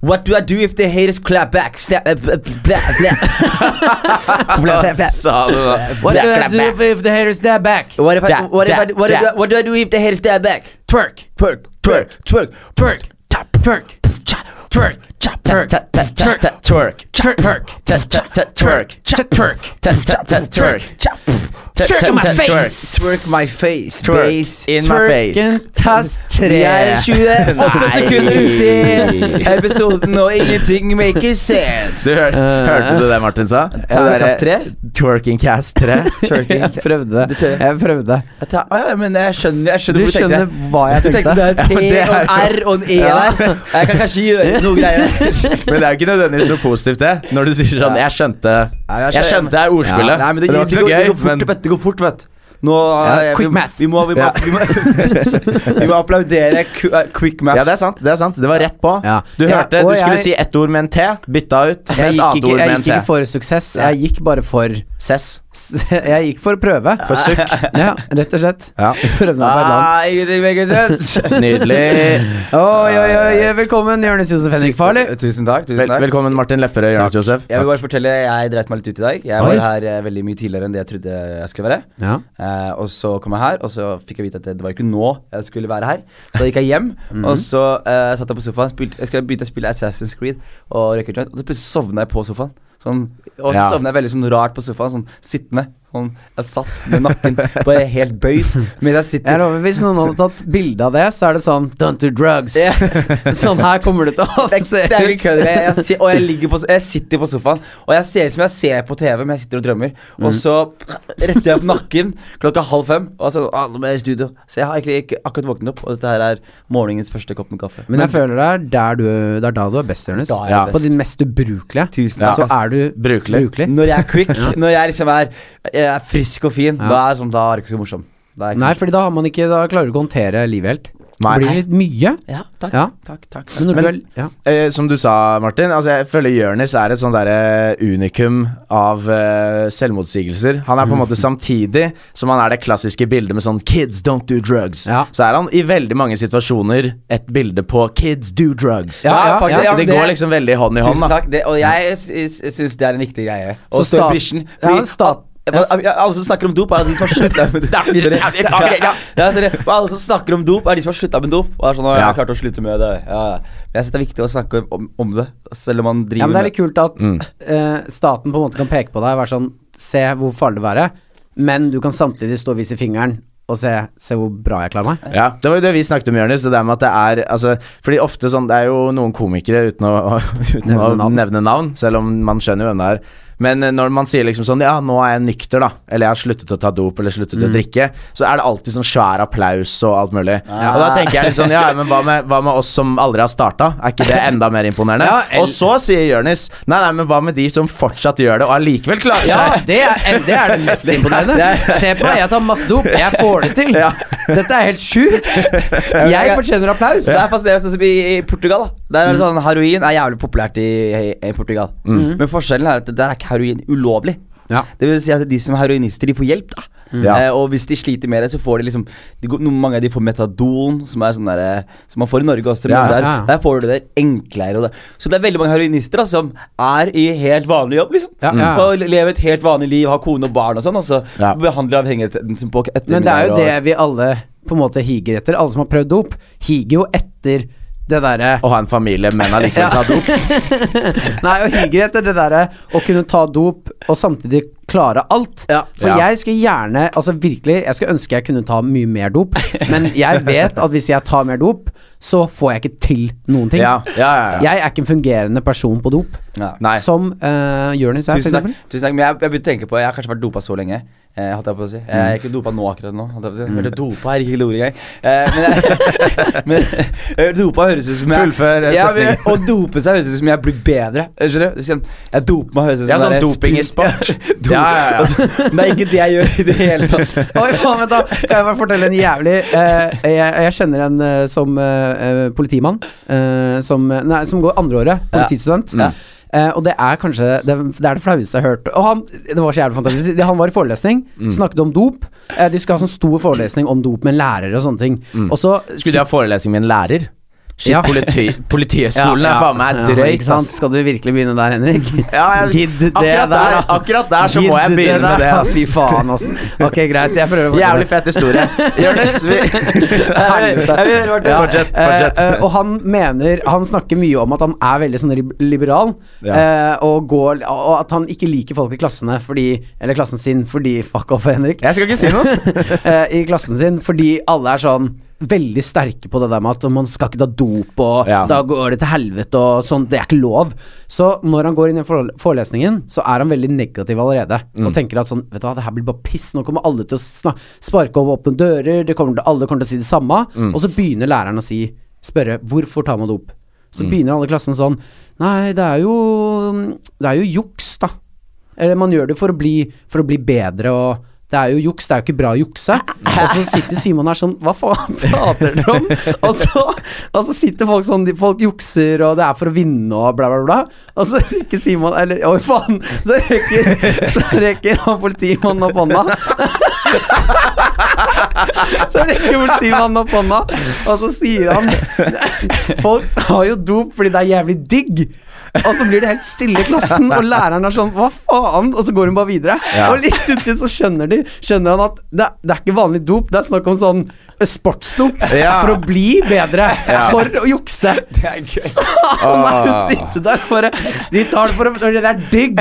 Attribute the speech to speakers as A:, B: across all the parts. A: What do I do if the haters clap back? Step, uh, blah, blah, blah. Blah, blah, blah.
B: Sa du da?
C: What do I
A: Clap
C: do
A: back.
C: if, if the haters dab back?
A: What if I,
B: Da,
A: what if
B: da,
A: I, what,
B: da.
A: do I, what do I do if the haters clap back?
C: Twerk,
A: Twerk, twerk, twerk,
C: twerk, twerk, twerk, twerk, twerk,
B: Ta- ta- ta- ta- Twerk.
C: twerk, twerk,
B: Ta- ta- ta- Twerk.
C: twerk, twerk,
B: Ta- ta- ta- Twerk. Ta-
C: Twerk
B: ta-
C: in my
B: ta-
C: face.
A: twerk my face,
B: Twerk.
A: base.
B: In my face.
C: Tast tre.
A: Vi er 28 sekunder ute i episoden, og ingenting makes sense.
B: Du hør, hørte du det Martin sa?
C: Twerkcast tre?
B: Twerking cast 3.
C: Twerking. Jeg prøvde. Jeg prøvde.
B: Jeg tar- Å ja, men jeg skjønner, jeg skjønner
C: Du
B: hvor du
C: skjønner
B: tenkte.
C: hva
A: Tenk,
C: jeg tenkte.
A: det er T og en
B: det er
A: R og en E der. Jeg kan kanskje gjøre noe greier.
B: Men det er jo ikke nødvendigvis noe positivt, det. Når du sier sånn 'Jeg skjønte Jeg skjønte det er ordspillet'.
D: Nei, men det,
B: det var
D: det,
B: ikke
D: går,
B: noe
D: det
B: gøy,
D: går fort,
B: men
D: vet du. Det går fort, vet du. Nå, eh,
C: quick
D: vi,
C: math.
D: Vi må, vi må,
B: Ja.
D: vi må, vi må applaudere ku- eh, quick math.
B: ja, det er sant. det er sant Det var rett på.
C: Ja.
B: Du
C: Ja,
B: hørte
C: og
B: du skulle
C: jeg-
B: si ett ord med en T, bytta ut med
C: Jeg
B: et
C: gikk
B: annet
C: ikke,
B: ord
C: jeg
B: med en
C: gikk ikke
B: T.
C: for suksess. Jeg gikk bare for
B: Sess.
C: Jeg gikk for å prøve.
B: For sukk.
C: Ja, rett og slett.
B: Ja.
C: Prøvde meg på et eller annet.
A: Nei, ingenting makes sense.
B: Nydelig.
D: Ah.
C: Oi, oi, oi, velkommen, Jonis Josef Henrik Farley.
D: Eh, Tusen takk. tusen
B: Vel,
D: takk
B: velkommen, Martin Lepperød, Jonas Josef.
D: Jeg vil bare fortelle, jeg dreit meg litt ut i dag. Jeg
C: Oi.
D: var her eh, veldig mye tidligere enn det jeg trodde jeg skulle være.
C: Ja.
D: Eh, og så kom jeg her, og så fikk jeg vite at det, det var ikke nå jeg skulle være her. Så da gikk jeg hjem, og så eh, satt jeg på sofaen. Spilte, jeg skulle begynte å spille Assassin's Creed og røyke joint, og så plutselig sovna jeg på sofaen. Sånn, og så
B: Ja.
D: sovna jeg veldig sånn rart på sofaen, sånn sittende. Sånn, jeg satt med nakken bare helt bøyd mens jeg
C: Jeg
D: sitter.
C: lover, hvis noen hadde tatt bilde av det, så er det sånn Don't do drugs.
D: Ja.
C: Sånn her kommer det til å
D: Det,
C: se
D: er- det er
C: ut.
D: ikke kødd. Altså, Jeg, jeg, si- og jeg, ligger på, jeg sitter på sofaen, og jeg ser ut som jeg ser på TV, men jeg sitter og drømmer. Og så retter jeg opp nakken klokka halv fem, og så ah, nå må jeg i studio. Så jeg har egentlig ikke akkurat våknet opp, og dette her er morgenens første kopp med kaffe.
C: Men jeg føler det er, der du, det er da du er best, Jonis.
D: Da er jeg
C: Ja.
D: best.
C: På din mest ubrukelige.
D: Tusen
C: Så
D: takk.
C: er du
B: Brukelig.
C: brukelig.
D: Når jeg er quick, når jeg liksom er, jeg er frisk og fin,
C: Ja.
D: da er det sånn, da er det ikke så morsom. Da er det ikke
C: Nei,
D: så morsom.
C: fordi da, har man ikke, da klarer du ikke å håndtere livet helt. Det
B: Nei.
C: blir litt mye.
D: Ja, takk,
C: Ja.
D: takk, takk.
C: Men når
B: Men-
C: du er ja.
B: Eh, som du sa, Martin, altså jeg føler Jonis er et sånn derre unikum av eh, selvmotsigelser. Han er på en måte samtidig som han er det klassiske bildet med sånn 'kids don't do drugs'.
C: Ja.
B: Så er han i veldig mange situasjoner et bilde på 'kids do drugs'.
C: Ja,
D: ja, faktisk, ja,
B: det,
D: men
B: går
D: det-
B: liksom veldig hånd i hånd.
D: Tusen
B: da
D: takk. Det, og jeg syns det er en viktig greie. Å
C: Så
D: stå i
C: stat-
D: brisjen.
C: Ja, stat-
D: at- at- at- alle som snakker om dop, er de som har slutta med dop. Sorry. Ja, ja, sorry. Men Alle som snakker om dop, er de som har slutta med dop. Og er sånn, «Å, jeg
B: Ja.
D: har klart å slutte med det ja. Men jeg syns det er viktig å snakke om, om det, selv om man
C: ja,
D: driver
C: men det er
D: med
C: litt kult at eh, staten på en måte kan peke på deg og være sånn Se hvor farlig det er, men du kan samtidig stå og vise fingeren og se, se hvor bra jeg klarer meg.
B: Ja, Det var jo det vi snakket om, Jonis. Det der med at det er altså, Fordi ofte sånn Det er jo noen komikere uten å, uten å
C: Nevne navn.
B: nevne navn, selv om man skjønner hvem det er. Men eh, når man sier liksom sånn Ja, nå er jeg nykter, da. Eller jeg har sluttet å ta dop, eller sluttet
C: Mm.
B: å drikke. Så er det alltid sånn svær applaus og alt mulig.
C: Ah.
B: Og da tenker jeg litt sånn Ja, men hva med, hva med oss som aldri har starta? Er ikke det enda mer imponerende?
C: Ja, el-
B: og så sier Jonis Nei, nei, men hva med de som fortsatt gjør det, og allikevel klarer
C: Ja,
B: seg?
C: det er det, er det mest imponerende. Se på meg, jeg tar masse dop. Jeg får det til.
B: Ja.
C: Dette er helt sjukt. Jeg fortjener applaus.
D: Det er fascinerende sånn som i, i Portugal. da Der er det sånn Heroin er jævlig populært i, i, i Portugal. Men forskjellen er at der er ikke heroin ulovlig.
C: Ja. Mm.
D: Det vil si at de som er heroinister, de får hjelp, da.
B: Ja.
D: Eh, og hvis de sliter med det, så får de liksom de, går- noen, Mange av de får metadon, som er sånn der, eh, Som man får i Norge også, men
B: Ja,
D: der,
C: ja, ja.
D: der får du det enklere. Og det. Så det er veldig mange heroinister da, som er i helt vanlig jobb, liksom.
C: Ja, ja, ja.
D: Og lever et helt vanlig liv, har kone og barn og sånn, og så
B: Ja.
D: behandler avhengigheten sin på ettermiddag.
C: Men det er jo
D: og-
C: det vi alle på en måte higer etter. Alle som har prøvd dop, higer jo etter det eh, derre
B: Å ha en familie, men allikevel ta dop?
C: Nei, og higer etter det derre å kunne ta dop og samtidig klare alt.
D: Ja.
C: For
B: Ja.
C: jeg skulle gjerne, altså virkelig, jeg skulle ønske jeg kunne ta mye mer dop, men jeg vet at hvis jeg tar mer dop, så får jeg ikke til noen ting.
B: Ja, ja, ja. ja.
C: Jeg er ikke en fungerende person på dop.
D: Ja.
B: Nei.
C: Som uh, Jonis er, for
D: Tusen takk.
C: eksempel.
D: Tusen takk. Men jeg, jeg begynte å tenke på Jeg har kanskje vært dopa så lenge. Eh, holdt jeg på å si. Jeg er ikke dopa nå akkurat nå. Holdt jeg på å si. Hørte
B: Mm.
D: dopa er ikke et ord engang. Eh, men jeg, men eh, dopa høres ut som jeg
B: Fullfør, eh,
D: ja, men,
B: setningen.
D: Å dope seg høres ut som jeg blir bedre. Eh, Skjønner du? Sånn, Jeg doper meg høres ut som
B: Ja, sånn
D: jeg er
B: doping i
D: sprut.
B: sport.
D: Dop-
B: Ja, ja, ja.
D: Altså, det er ikke det jeg gjør i det hele tatt.
C: Oi, faen, vent da. Kan jeg bare fortelle en jævlig eh, jeg, jeg kjenner en eh, som eh, eh, politimann. eh, som, nei, som går andreåret. Politistudent.
D: Ja.
C: Eh, og det er kanskje det, det er det flaueste jeg har hørt. Og han, det var så jævlig fantastisk Han var i forelesning,
B: Mm.
C: snakket om dop. Eh,
B: Mm.
C: de skulle ha sånn stor forelesning om dop med lærere og sånne ting. Og så
B: Skulle de ha forelesning med en lærer? Shit,
C: Ja.
B: politi Politihøgskolen
C: Ja,
B: er faen meg
C: ja,
B: drøyt,
C: ikke sant?
B: ass.
C: Skal du virkelig begynne der, Henrik?
B: Ja, jeg,
C: Gidd det
B: akkurat, der,
C: der, da.
B: akkurat der så må
C: Gidd
B: jeg begynne med det, ass.
C: Fy faen, ass. Ok, greit. Jeg prøver å fortsette.
B: Jævlig fet historie. Jonis, vi
C: Helvete.
B: Jeg vil høre hva du- Fortsett,
C: Eh,
B: fortsett.
C: eh, og han mener Han snakker mye om at han er veldig sånn rib- liberal,
B: Ja.
C: eh, og, går, og at han ikke liker folk i klassene fordi Eller klassen sin fordi Fuck off, Henrik.
B: Jeg skal ikke si noe.
C: Eh, I klassen sin fordi alle er sånn veldig sterke på det der med at man skal ikke ta dop, og
B: Ja.
C: da går det til helvete og sånn. Det er ikke lov. Så når han går inn i forel- forelesningen, så er han veldig negativ allerede.
B: Mm.
C: Og tenker at sånn, vet du hva, det her blir bare piss. Nå kommer alle til å sna sparke opp åpne dører, det kommer til, alle kommer til å si det samme.
B: Mm.
C: Og så begynner læreren å si, spørre hvorfor tar man dop? Så
B: Mm.
C: begynner alle i klassen sånn Nei, det er jo Det er jo juks, da. Eller man gjør det for å bli, for å bli bedre og det er jo juks, det er jo ikke bra å jukse. Og så sitter Simon her sånn Hva faen prater dere om? Og så, og så sitter folk sånn de- Folk jukser, og det er for å vinne, og bla, bla, bla. Og så rekker Simon Eller oi, faen! Så rekker, så rekker han politimannen opp hånda. Så rekker politimannen opp hånda, og så sier han Folk tar jo dop fordi det er jævlig digg. Og så blir det helt stille i klassen, og læreren er sånn Hva faen? Og så går hun bare videre.
B: Ja.
C: Og litt uti så skjønner, de, skjønner han at det, det er ikke vanlig dop, det er snakk om sånn eh, sportsdop
B: Ja.
C: for å bli bedre.
B: Ja.
C: For å jukse.
D: Det er gøy.
C: Så han er jo sitte der bare De tar det for å Det er digg!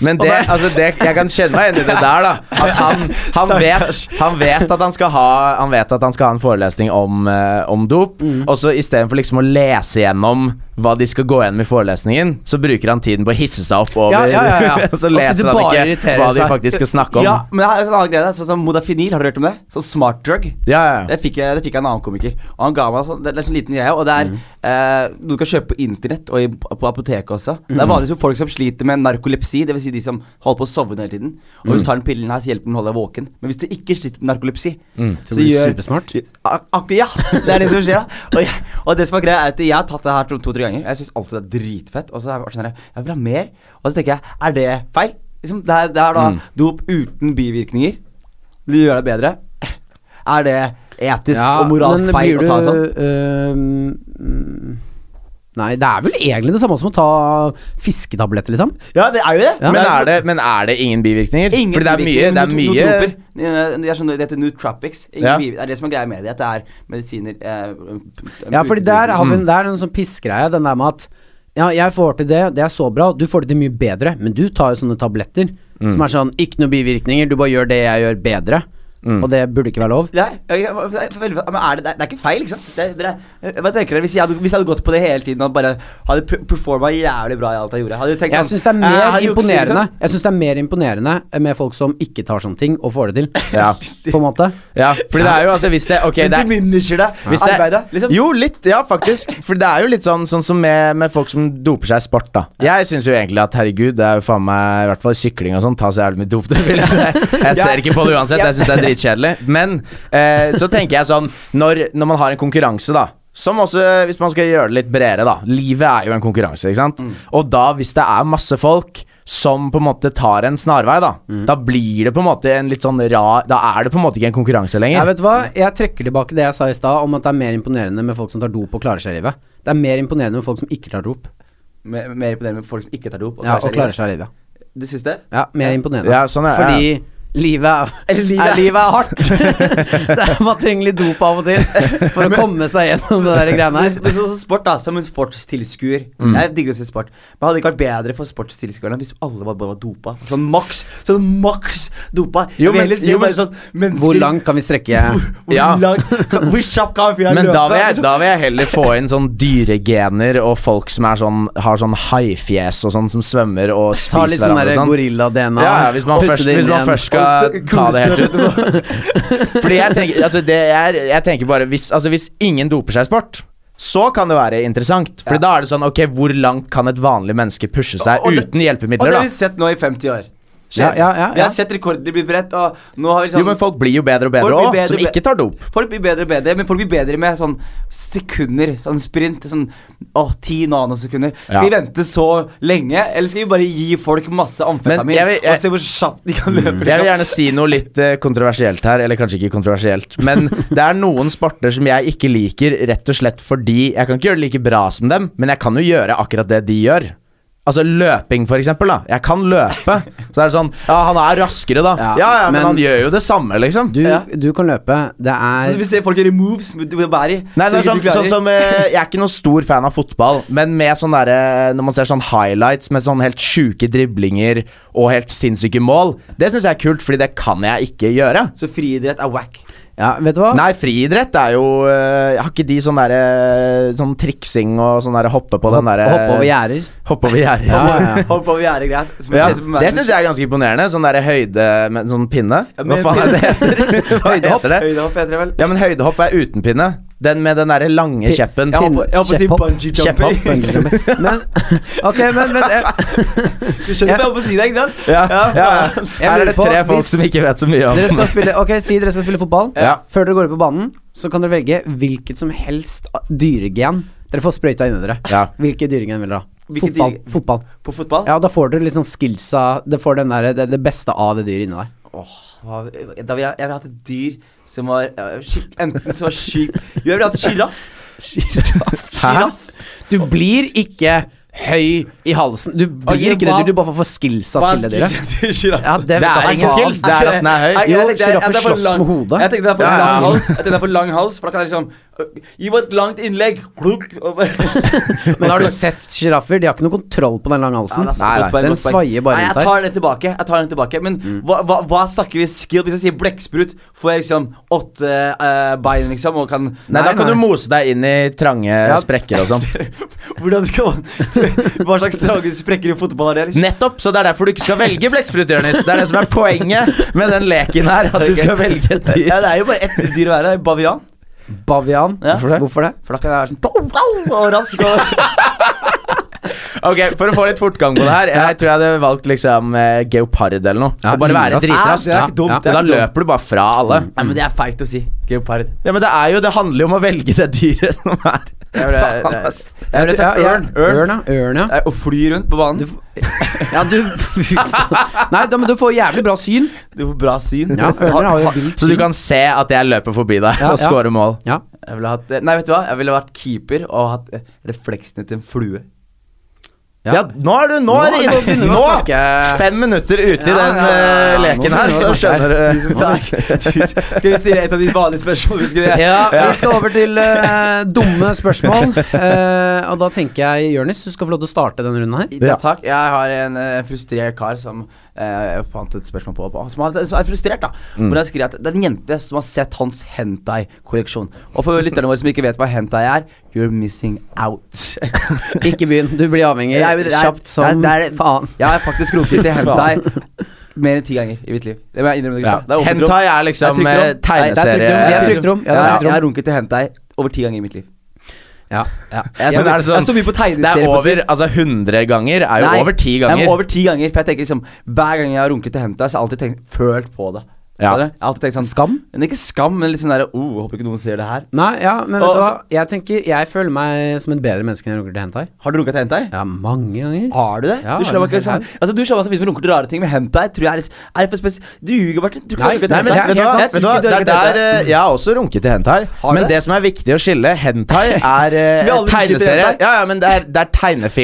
B: Men det, altså det, jeg kan kjenne meg inn i det der, da. At han, han, vet, han vet at han skal ha Han vet at han skal ha en forelesning om, eh, om dop,
C: Mm.
B: og så istedenfor liksom å lese gjennom hva de skal gå gjennom i forelesningen, så bruker han tiden på å hisse seg opp over
C: Ja, ja, ja, ja.
B: Så
C: Og så
B: leser
C: de bare
B: han ikke
C: irriterer
B: hva de
C: seg.
B: faktisk skal snakke om.
D: Ja, men det er en annen greie der, sånn som modafinil, har du hørt om det? Sånn smart drug.
B: Ja, ja, ja.
D: Det fikk jeg det fikk jeg av en annen komiker. Og han ga meg sånn, Det er en sånn liten greie, og det er
C: Mm.
D: eh, noe du kan kjøpe på internett og i, på apoteket også. Det
C: Mm.
D: er vanligvis jo folk som sliter med narkolepsi, dvs. Si de som holder på å sovne hele tiden. Og
C: Mm.
D: hvis du tar den pillen her, så hjelper den å holde deg våken. Men hvis du ikke sliter med narkolepsi,
C: Mm. Så blir du supersmart?
D: Ak akkurat, ja. Det er det som skjer, da. Og, jeg, og det som er greia, er at jeg har tatt det her to- to-tre ganger. Jeg syns alltid det er dritfett. Og så er jeg bare sånn her, jeg vil ha mer. Og så tenker jeg, er det feil? Liksom, det, er, det er
C: Mm.
D: da dop uten bivirkninger. Vil gjøre deg bedre. Er det etisk og moralsk feil å ta en sånn?
C: øhm, eh, mm, Nei, det er vel egentlig det samme som å ta fisketabletter, liksom.
D: Ja, det er jo det.
C: Ja.
B: Men, er det, men er det ingen bivirkninger?
D: Ingen
B: Fordi det er mye, det er mye
D: mye Det er sånn, det heter nootropics. Ingen
B: Ja.
D: bivirkninger. Det er det som er greia med det, at det er medisiner eh,
C: Ja, fordi der har vi en, det er en sånn pissgreie, den der med at ja, jeg får til det, det er så bra, du får det til mye bedre, men du tar jo sånne tabletter
D: Mm.
C: som er sånn, ikke noe bivirkninger, du bare gjør det jeg gjør bedre,
D: Mm.
C: og det burde ikke være lov.
D: Nei, jeg- jeg- jeg- veldig- men er det, det er- det er ikke feil, ikke sant? Det, dere- hva tenker dere, hvis jeg, hadde, hvis jeg hadde gått på det hele tiden og bare hadde pre- performa jævlig bra i alt jeg gjorde Hadde du tenkt
C: Jeg
D: sånn,
C: syns det er
D: eh,
C: mer
D: hadde jukset,
C: imponerende
D: liksom?
C: Jeg synes det er mer imponerende med folk som ikke tar sånne ting og får det til,
B: Ja.
C: på en måte.
B: ja, fordi det er jo altså Hvis det Ok,
D: Hvis
B: det
D: du
B: er
D: diminisher deg,
B: Hvis det-
D: arbeidet, liksom.
B: Jo, litt, ja faktisk. For det er jo litt sånn, sånn som med, med folk som doper seg i sport, da. Jeg syns jo egentlig at herregud, det er jo faen meg I hvert fall i sykling og sånn, ta så jævlig mye dop du vil. Jeg ser ikke på det uansett, jeg syns det er dritkjedelig. Men eh, så tenker jeg sånn, når, når man har en konkurranse, da. Som også, hvis man skal gjøre det litt bredere, da. Livet er jo en konkurranse, ikke
D: Mm.
B: sant. Og da, hvis det er masse folk som på en måte tar en snarvei, da.
D: Mm.
B: Da blir det på en måte en litt sånn rar Da er det på en måte ikke en konkurranse lenger.
C: Ja, vet du hva? Jeg trekker tilbake det jeg sa i stad om at det er mer imponerende med folk som tar dop og klarer seg i livet. Det er mer imponerende med folk som ikke tar dop
D: Mer, mer imponerende med folk som ikke tar dop.
C: ja, og klarer seg i livet.
D: Du syns det?
C: Ja, mer imponerende.
B: Ja, sånn er-
C: Fordi livet er,
D: Eller livet er-
C: livet er, livet er hardt. det er, man trenger litt dop av og til for å komme seg gjennom det der greiene
D: Men,
C: her.
D: men så, så sport, da. Som en sportstilskuer.
B: Mm.
D: Jeg digger å se sport. Men hadde det ikke vært bedre for sportstilskuerne hvis alle var, bare var dopa? Sånn maks sånn maks dopa. Jeg vil
B: Jo, men-
D: heller se
B: jo, men-
D: bare sånn mennesker
C: Hvor langt kan vi strekke
D: Hvor
B: Ja.
D: langt kan- Hvor kjapt kan en fyr
B: Men
D: løpe?
B: da vil, jeg,
D: Liksom.
B: da vil jeg heller få inn sånn dyregener og folk som er sånn, har sånn haifjes og sånn, som svømmer og
C: Ta litt
B: spiser
C: sånn
B: hverandre og sånn.
C: gorilla-DNA.
B: Ja, ja, hvis man, først, hvis man først
D: Og
B: skal
D: stø-
B: ta det helt ut. Fordi jeg tenker, altså det er, jeg tenker bare hvis, altså hvis ingen doper seg i sport, så kan det være interessant. For da er det sånn Ok, hvor langt kan et vanlig menneske pushe seg
D: Og det- Og
B: uten
D: det
B: hjelpemidler,
D: har vi
B: da?
D: sett nå i 50 år.
C: Ja, ja, ja,
D: Vi
C: ja.
D: har sett rekordene bli bredt, og nå har vi
B: Jo,
D: sånn
B: men folk blir jo bedre og bedre
D: Folk blir
B: òg,
D: bedre
B: som
D: og be-
B: ikke tar dop.
D: Folk blir bedre og bedre, men folk blir bedre med sånn sekunder. Sånn sprint. Sånn åh, ti nanosekunder. Skal
B: Ja.
D: vi vente så lenge, eller skal vi bare gi folk masse amfetamin
B: Men jeg vil- jeg- Mm,
D: og se hvor kjapt de kan løpe? liksom.
B: Jeg vil gjerne si noe litt eh, kontroversielt her, eller kanskje ikke kontroversielt, men det er noen sporter som jeg ikke liker, rett og slett fordi Jeg kan ikke gjøre det like bra som dem, men jeg kan jo gjøre akkurat det de gjør. Altså løping, for eksempel. da Jeg kan løpe. Så er det sånn Ja, han er raskere, da. Ja,
C: Ja,
B: ja, men,
C: men-
B: han gjør jo det samme, liksom.
C: Du, du kan løpe. Det
D: Så
C: er
D: vi ser folk gjøre moves med med bæri.
B: Nei, det er
D: så
B: sånn,
D: ikke du
B: sånn
D: klarer.
B: som eh, Jeg er ikke noen stor fan av fotball, men med sånn derre Når man ser sånn highlights med sånn helt sjuke driblinger og helt sinnssyke mål, det syns jeg er kult, fordi det kan jeg ikke gjøre.
D: Så friidrett er whack.
C: Ja, vet du hva?
B: Nei, friidrett er jo eh, Har ikke de sånn derre Sånn triksing og sånn derre hoppe på den derre
C: Hoppe over gjerder.
B: Hoppe over gjerdet. Ja,
C: ja, ja.
D: Hopp over gjerdet, greit.
B: Det syns jeg er ganske imponerende. Sånn derre høyde med en sånn pinne.
D: Ja,
B: Hva
D: med
B: faen er det heter? Hva
D: Høydehopp.
B: heter det?
D: Høydehopp heter det vel.
B: Ja, men høydehopp er uten pinne. Den med den derre lange
C: Pin-
B: kjeppen.
D: Jeg holdt på- jeg holdt på å si
C: Kjepphopp.
D: bungee
B: Kjepphopp,
D: jumping.
C: Bungee jumping. Men Ok, men vent. Jeg,
D: Du skjønner hva jeg holdt på å si det, ikke sant?
B: Ja, ja, ja.
C: Jeg
B: Her
C: lurer
B: er det
C: på,
B: tre folk
C: hvis
B: som ikke vet så mye om
C: Dere skal spille Ok, si dere skal spille fotball.
B: Ja.
C: Før dere går ut på banen, så kan dere velge hvilket som helst dyregen dere får sprøyta inni dere.
B: Ja.
C: Hvilke dyregen vil dere ha?
D: Hvilket
C: Fotball.
D: dyregen?
C: fotball.
D: På fotball?
C: Ja, da får du liksom skillsa Du får den der, det, det beste av det dyret inni deg.
D: Hva- Da vil jeg, jeg vil ha hatt et dyr som var ja, skikk, Enten som var sykt Jo, jeg vil ha hatt sjiraff.
C: Hæ? Du blir ikke høy i halsen. Du blir
D: Ok,
C: ikke det
D: hva-
C: dyret, du bare får skillsa
D: Hva er
C: til det dyret.
D: skills til sjiraff?
C: Ja, det,
B: Det er
C: vet jeg
B: ingen
C: faen.
B: skills, det er at den er høy.
D: Jeg- jeg
C: Jo,
D: tenkte- jeg-
C: giraffer
D: jeg tenkte det er for
C: slåss
D: lang-
C: med hodet.
D: Jeg tenkte det er for
B: Ja, ja,
D: lang
B: ja.
D: hals. Jeg tenkte det er for lang hals For da kan jeg liksom øh, Gi meg et langt innlegg. Klunk, og bare,
C: Men har du sett sjiraffer? De har ikke noe kontroll på den lange halsen.
B: sant. Nei, nei.
D: poeng,
C: Den
D: godt poeng.
C: svaier bare
D: Nei,
C: rundt
D: Jeg
C: her.
D: tar den tilbake. Jeg tar den tilbake Men hva, hva, hva snakker vi skill? Hvis jeg sier blekksprut, får jeg liksom åtte eh, bein, liksom, og kan
B: Nei, da
C: Nei,
B: kan
C: nei.
B: du mose deg inn i trange sprekker og sånn.
D: Hvordan skal man Hva slags trange sprekker i fotball er det? liksom?
B: Nettopp, så det er derfor du ikke skal velge blekksprut, Jonis. Det er det som er poenget med den leken her. At du skal velge et dyr.
D: Ja, det er jo bare ett dyr å være. det er Bavian.
C: Bavian.
D: Ja.
B: Hvorfor det?
C: Hvorfor det?
D: For da kan jeg være sånn pow, pow, og rask. Og,
B: Ok, For å få litt fortgang på det her, jeg tror jeg hadde valgt liksom eh, geopard eller noe.
C: Ja, Altså,
B: og bare være
C: lynrask.
B: dritrask.
D: Ja, det er ikke dumt, det er
B: Da
D: ikke dumt. Mm.
B: løper du bare fra alle.
D: Nei, men det er feigt å si. Geopard.
B: Ja, Men det er jo, det handler jo om å velge det dyret som er
D: Jeg ville
B: Faen,
D: jeg-
B: ass.
D: jeg ville sagt
C: ja,
D: ørn. Ørn.
C: ja. Ørn, ja.
D: Eh, Og fly rundt på banen. Du,
C: Ja, du Nei, da, men du får jævlig bra syn.
D: du får bra syn.
C: Ja, Ørner har jo vilt
B: Så du
C: syn.
B: kan se at jeg løper forbi deg
C: Mm. Ja,
B: og
C: ja.
B: scorer mål.
C: Ja.
D: Jeg ville hatt eh, Nei, vet du hva? Jeg ville vært keeper og hatt eh, refleksene til en flue.
C: Ja.
B: Ja, nå er du Nå, er du
C: Nå- nå
B: inne!
C: begynner vi
B: Nå!
C: å snakke.
B: Fem minutter ute i
C: Ja,
B: den
C: ja, ja, ja.
B: eh,
C: Nå
B: leken her,
C: begynner vi
B: så
C: å snakke
B: skjønner
C: her.
B: du
D: Tusen takk. Tusen- Skal vi stille et av de vanlige spørsmålene? vi Skulle
C: Ja, vi skal over til eh, dumme spørsmål. Eh, og da tenker jeg, Jonis, du skal få lov til å starte denne runden her.
D: Ja,
B: Ja.
D: takk. Jeg har en eh, frustrert kar som eh, jeg fant et spørsmål på, på som, har, som er frustrert, da.
B: Mm.
D: Hvor han skriver at det er en jente som har sett hans hentai-kolleksjon. Og for lytterne våre som ikke vet hva hentai er, you're missing out.
C: Ikke begynn. Du blir avhengig
D: Nei, men det er-
C: kjapt som
D: nei, det er-
C: faen.
D: Jeg har faktisk runket til hentai mer enn ti ganger i mitt liv. Det må jeg innrømme.
B: Ja.
D: gutta. Det er åpent rom.
B: Hentai
D: Det
B: er
D: er
B: liksom
D: trygt rom.
B: eh,
D: Nei, det er trygt
C: rom. Vi er
B: tegneserie...
D: Jeg-
C: trygt rom. Ja, det er
D: jeg-
C: trygt rom.
D: Jeg har runket til hentai over ti ganger i mitt liv.
C: Ja, ja.
D: Jeg
B: Ja,
D: så,
B: men er
D: mye-
B: det sånn-
D: jeg så mye på
B: Det
D: tegneserier.
B: er
D: på
B: over Altså 100 ganger er jo
D: Nei,
B: over 10
D: Ja,
B: ganger.
D: men over ti ganger. For jeg tenker liksom Hver gang jeg har runket til henta, så har jeg alltid tenkt følt på det.
B: Ja.
D: Skjønner du? Jeg har alltid tenkt sånn
C: Skam?
D: Men ikke skam, men litt sånn derre oh, Håper ikke noen ser det her.
C: Nei, ja, men
D: Og
C: vet du hva?
D: så-
C: Jeg tenker, jeg føler meg som et bedre menneske enn jeg runker til hentai.
D: Har du runka til hentai?
C: Ja, mange ganger.
D: Har du det?
C: Ja,
D: du slår meg ikke
C: har
D: sånn
C: du
D: Altså du slår meg som vi som runker til rare ting, men hentai tror jeg er, er for spesielt Du ljuger, Martin. Du kan
C: Nei,
D: runke til
B: Nei, men
D: hentai.
B: vet du hva?
D: Jeg
B: Vet du hva?
D: tror ikke
B: Det
D: har runket til
B: er der,
D: hentai.
B: eh, jeg har også runket til hentai,
D: Har du
B: men
D: det?
B: det som er viktig å skille Hentai er
D: Så vi
B: eh,
D: har aldri runket til
B: tegneserie.
D: hentai?
B: Ja, ja, men det er, det er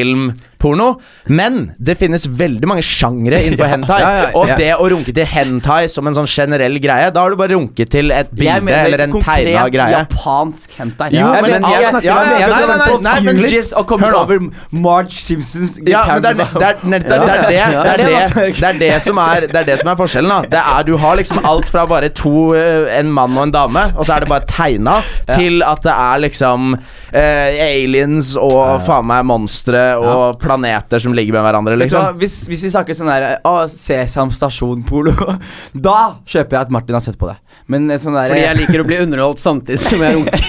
B: tegnefilmporno. Men det finnes veldig mange sjangre innenfor hentai.
C: Ja, ja, ja.
B: Og det å runke til hentai som en sånn generell greie, da har du bare runket til et bilde
D: Jeg mener
B: eller en tegna
D: konkret
B: greie.
D: japansk hentai.
B: Jo,
D: jeg
B: men-
D: mener-
B: jeg
C: snakker
D: ja,
C: om-
D: ja, nei,
C: jeg snakker
D: nei,
C: om
D: nei,
C: folks
D: nei, men-
B: juges
D: og kommer
B: sånn Hør nå.
D: over Marge Simpsons Get
B: Ja, men det er
D: Tangible.
B: det, er, det, er, det, er, det,
C: Ja.
B: det, er det, det, er det, som er, det er det som er forskjellen. da det er, Du har liksom alt fra bare to eh, En mann og en dame, og så er det bare tegna, til at det er liksom eh, aliens og faen meg monstre og planeter som ligger med hverandre,
D: Vet du hva,
B: liksom.
D: hvis, hvis vi snakker sånn der Å, Sesam stasjon-polo Da kjøper jeg at Martin har sett på det. Men et sånn der
C: Fordi jeg liker å bli underholdt samtidig som jeg runker.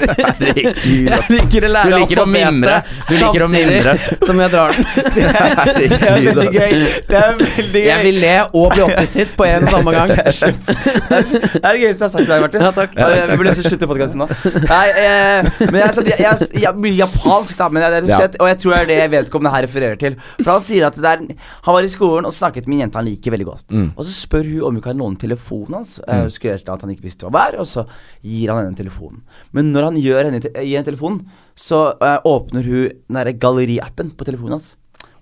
C: jeg liker å
B: Du
C: lære
B: liker å mimre. Du liker å
C: samtidig
B: mimre.
C: som jeg drar den.
D: Det er
B: Herregud,
D: veldig
B: ass.
D: gøy. Det er veldig gøy.
C: Jeg vil le og bli opphisset på en og samme gang.
D: Det er det gøyeste jeg har sagt til deg, Martin.
C: Ja, takk.
D: Ja, jeg burde nesten slutte podkasten nå. Nei, eh, men jeg, så, jeg, jeg, jeg blir japansk, da, men jeg, det er rett
B: Ja.
D: og slett, og jeg tror det er det vedkommende her refererer til. For Han sier at det er, han var i skolen og snakket med en jente han liker veldig godt.
B: Mm.
D: Og så spør hun om hun kan låne telefonen hans. Eh, Hun skulle gjøre at han ikke visste hva det var, og så gir han henne telefonen. Men når han gjør henne, te- gir henne telefonen, så eh, åpner hun den derre galleriappen på telefonen hans.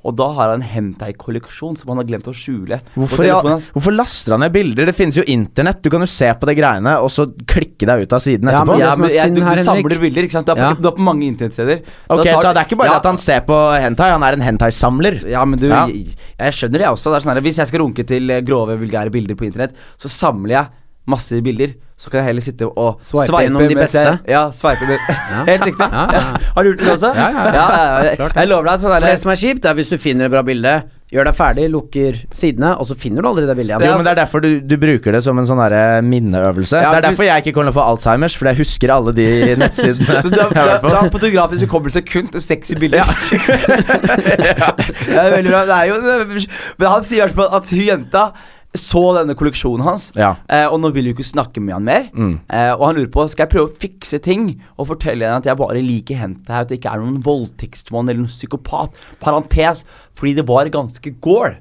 D: Og da har han en hentai-kolleksjon som han har glemt å skjule.
B: Hvorfor,
D: på
B: i all-
D: telefonen hans.
B: hvorfor laster han ned bilder? Det finnes jo internett. Du kan jo se på de greiene, og så klikke deg ut av siden
C: Ja,
B: etterpå.
C: men
D: Ja,
C: det som
D: men
C: er
D: jeg,
C: synd
D: du,
C: her,
D: du
C: Henrik-
D: samler bilder, ikke sant? Du er på,
C: Ja.
D: du er på mange internettsteder. Da
B: Ok,
D: tar
B: Så
D: du-
B: det er ikke bare
D: ja,
B: at han ser på hentai, han er en hentai-samler.
D: ja, men du,
B: Ja.
D: Jeg, jeg skjønner det også. Det er sånn her, hvis jeg skal runke til eh, grove, vulgære bilder på internett, så samler jeg masse bilder. Så kan jeg heller sitte og
C: Swipe gjennom de
D: mens
C: beste.
D: Jeg, ja, swipe med Helt riktig.
C: Ja, ja, ja.
D: Har du gjort det også?
C: Ja, ja, ja.
D: jeg-
C: Klart det.
D: Jeg lover deg at sånn
C: For
D: her-
C: det som er kjipt, er hvis du finner et bra bilde, gjør deg ferdig, lukker sidene, og så finner du aldri det
B: Jo,
C: bildet igjen.
B: men Det er derfor du, du bruker det som en sånn derre minneøvelse.
D: altså- Ja,
B: det er
D: du-
B: derfor jeg ikke kommer til å få Alzheimers, fordi jeg husker alle de nettsidene.
D: Så du har,
B: jeg har vært
D: du
B: på.
D: har fotografisk hukommelse kun til sexy bilder. det er veldig bra. Det er jo, men han sier i hvert fall at hun jenta så denne kolleksjonen hans,
B: Ja.
D: eh, og nå vil hun ikke snakke med han mer. Eh, og han lurer på skal jeg prøve å fikse ting og fortelle henne at jeg bare liker henta, at det ikke er noen voldtektsmann eller noen psykopat. Parentes, fordi det var ganske gore.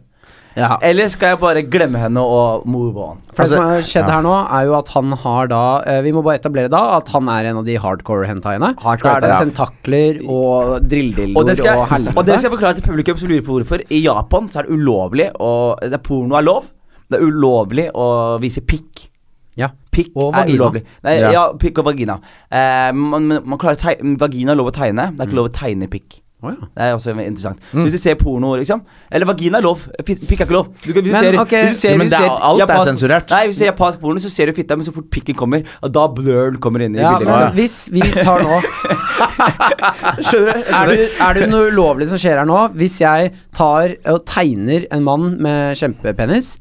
C: Ja.
D: Eller skal jeg bare glemme henne og move on?
C: For det
B: Altså,
C: som har skjedd
B: ja.
C: her nå, er jo at han har da eh, Vi må bare etablere da at han er en av de hardcore hentaiene.
D: Hardcore,
C: da er det
D: ja.
C: tentakler og
D: Og
C: drilldildoer og,
D: det, skal, jeg-
C: helvete.
D: og det skal jeg forklare til publikum som lurer på hvorfor. I Japan så er det ulovlig å det er Porno er lov. Det er ulovlig å vise pikk.
C: ja.
D: Pikk
C: Og
D: er
C: vagina.
D: ulovlig. Nei,
B: Ja.
D: ja. pikk og vagina. Eh, man, man, man klarer teg Vagina er lov å tegne.
B: Mm.
D: Det er ikke lov å tegne pikk.
C: Å, ja.
D: Det er også interessant. Så Hvis du ser porno, liksom Eller vagina er lov. Fi- Pikk er ikke lov. Du kan, hvis,
C: Men,
D: du ser,
C: ok.
D: hvis du ser,
B: Ja, men
D: hvis du
B: det er-
D: ser
B: alt er sensurert.
D: Nei, hvis du ser japansk porno, så ser du fitta, men så fort pikken kommer, og da blurren kommer inn i
C: Ja,
D: bildet.
C: men så,
D: Liksom.
C: hvis vi tar nå
D: Skjønner du?
C: er, det, er det noe ulovlig som skjer her nå? Hvis jeg tar og tegner en mann med kjempepenis,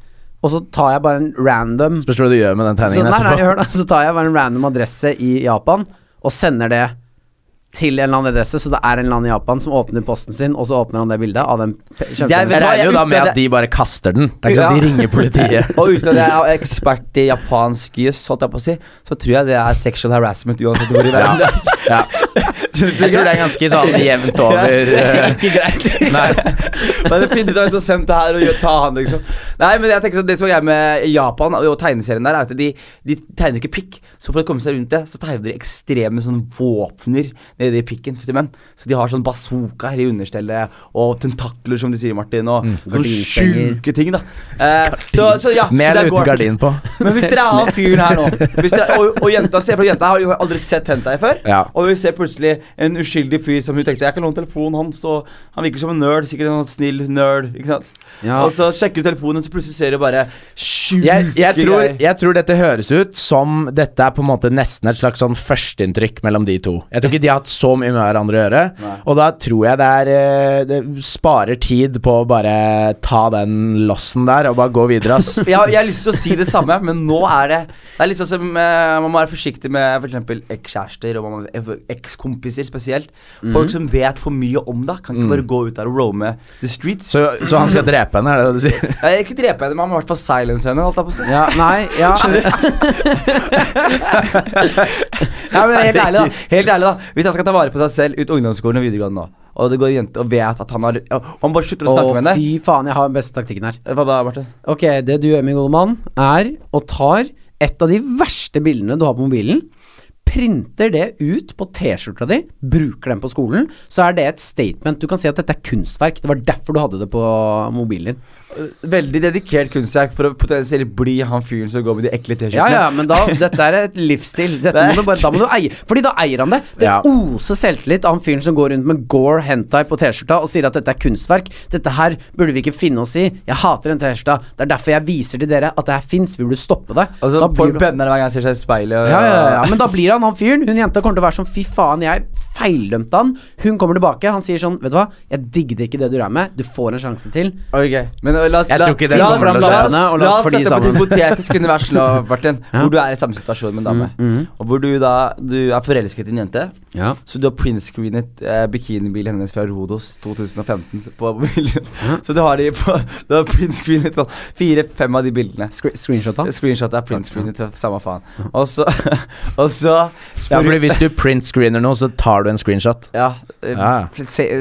C: og så tar jeg bare en random
B: Spørs hva du gjør med den
C: så,
B: tegningen
C: nei, nei,
B: etterpå.
C: hør da, så tar jeg bare en random adresse i Japan og sender det til en eller annen adresse, så det er en eller annen i Japan som åpner posten sin, og så åpner han det bildet av den pe-
D: Jeg
B: Jeg
D: vet
C: kjempepenisen.
D: hva,
B: regner jo da
D: utledet-
B: med at de bare kaster den. Det er ikke sånn at de ringer politiet.
D: Og uten at jeg er ekspert i japansk juss, holdt jeg på å si, så tror jeg det er sexual harassment uansett hvor i verden det er.
B: Ja. Jeg tror det er ganske sånn jevnt over.
D: Det
B: eh,
D: er ikke greit,
B: Nei.
D: liksom. Men det finner ut av hvem som har sendt det her, og gjør- ta han, liksom. Nei, men jeg tenker sånn, det som er greia med Japan og tegneserien der, er at de, de tegner ikke pikk. Så for å komme seg rundt det, så tegner de ekstreme sånn våpner nede i pikken til menn. Så de har sånn bazooka her i understellet, og tentakler, som de sier, Martin, og
B: Mm.
D: sånne
C: Gardinstenger.
D: sjuke ting, da. Eh, så, så ja.
B: Med
D: så det
B: eller
D: er
B: uten
D: gore.
B: gardin på.
D: Men hvis dere er han fyren her nå hvis dere, og, og jenta ser, for jenta har jo aldri sett hentai før.
B: Ja.
D: Og vi ser plutselig en uskyldig fyr som hun tenkte Jeg kan låne telefonen hans, og han virker som en nerd. Sikkert en sånn snill nerd. Ikke sant?
C: Ja.
D: Og så sjekker du telefonen, så plutselig ser du bare sjuke
B: jeg, jeg, tror,
D: greier.
B: jeg tror dette høres ut som Dette er på en måte nesten et slags sånn førsteinntrykk mellom de to. Jeg tror ikke de har hatt så mye med hverandre å gjøre. Og da tror jeg det er eh, Det sparer tid på å bare ta den lossen der og bare gå videre, ass.
D: jeg, har- jeg har lyst til å si det samme, men nå er det Det er litt sånn som eh, Man må være forsiktig med f.eks. ekskjærester og man må- eh, ekskompiser spesielt.
B: Mm.
D: Folk som vet for mye om deg, kan ikke bare gå ut der og roame the streets.
B: Så, så han skal drepe henne, er det det du sier?
D: Jeg, ikke drepe henne, men han må i hvert fall silence henne. Holdt jeg på å si.
C: Ja, nei, ja.
D: Ja, men helt ærlig, da. Helt ærlig da Hvis han skal ta vare på seg selv ut ungdomsskolen og videregående nå, og det går en jente og vet at han har Og han bare slutter å
C: Å,
D: snakke med henne
C: fy faen, jeg har den beste taktikken her.
D: Hva da, Martin?
C: Ok, det du gjør, min gode mann, er å tar et av de verste bildene du har på mobilen, printer det ut på T-skjorta di, bruker den på skolen, så er det et statement. Du kan si at dette er kunstverk. Det var derfor du hadde det på mobilen din.
D: Veldig dedikert kunstverk for å potensielt bli han fyren som går med de ekle
C: Ja,
D: T-skjortene.
C: ja, men da, dette er et livsstil. Dette må du bare, da må du eie Fordi da eier han det. Det
B: Ja.
C: oser selvtillit av han fyren som går rundt med Gore Hentai på T-skjorta og sier at dette er kunstverk. Dette her burde vi ikke finne oss i. Jeg hater den T-skjorta. Det er derfor jeg viser til dere at det her fins. Vi burde stoppe det.
D: Og så
C: Da blir
D: får
C: du-
D: bønner hver gang han ser seg i speilet. Og,
B: Eh.
C: ja, ja, ja, men da blir han han fyren. Hun jenta kommer til å være sånn fy faen, jeg feildømte han. Hun kommer tilbake, han sier sånn, vet du hva, jeg digget ikke det du drev med, du får en sjanse til.
D: Ok, men la oss
B: Jeg
D: la-
B: tror ikke det
D: la-
B: kommer
D: la-
B: til å skje.
D: la oss-
C: Og
D: La oss sette på et
C: sammen.
D: hypotetisk univers nå, Martin, hvor du er i samme situasjon med en dame.
B: Mm,
D: Og hvor du da du er forelsket i en jente.
C: Ja.
D: Så du har printscreenet eh, bikinibilen hennes fra Rodos 2015 på mobilen. Så du har de på Du har printscreenet sånn fire-fem av de bildene.
C: Screenshot han.
D: Screenshot er printscreenet, så samme faen. Og så Og så
B: Ja,
D: spør
B: fordi hvis du printscreener noe, så tar du en screenshot.
D: ja, eh,
B: Ja.
D: se-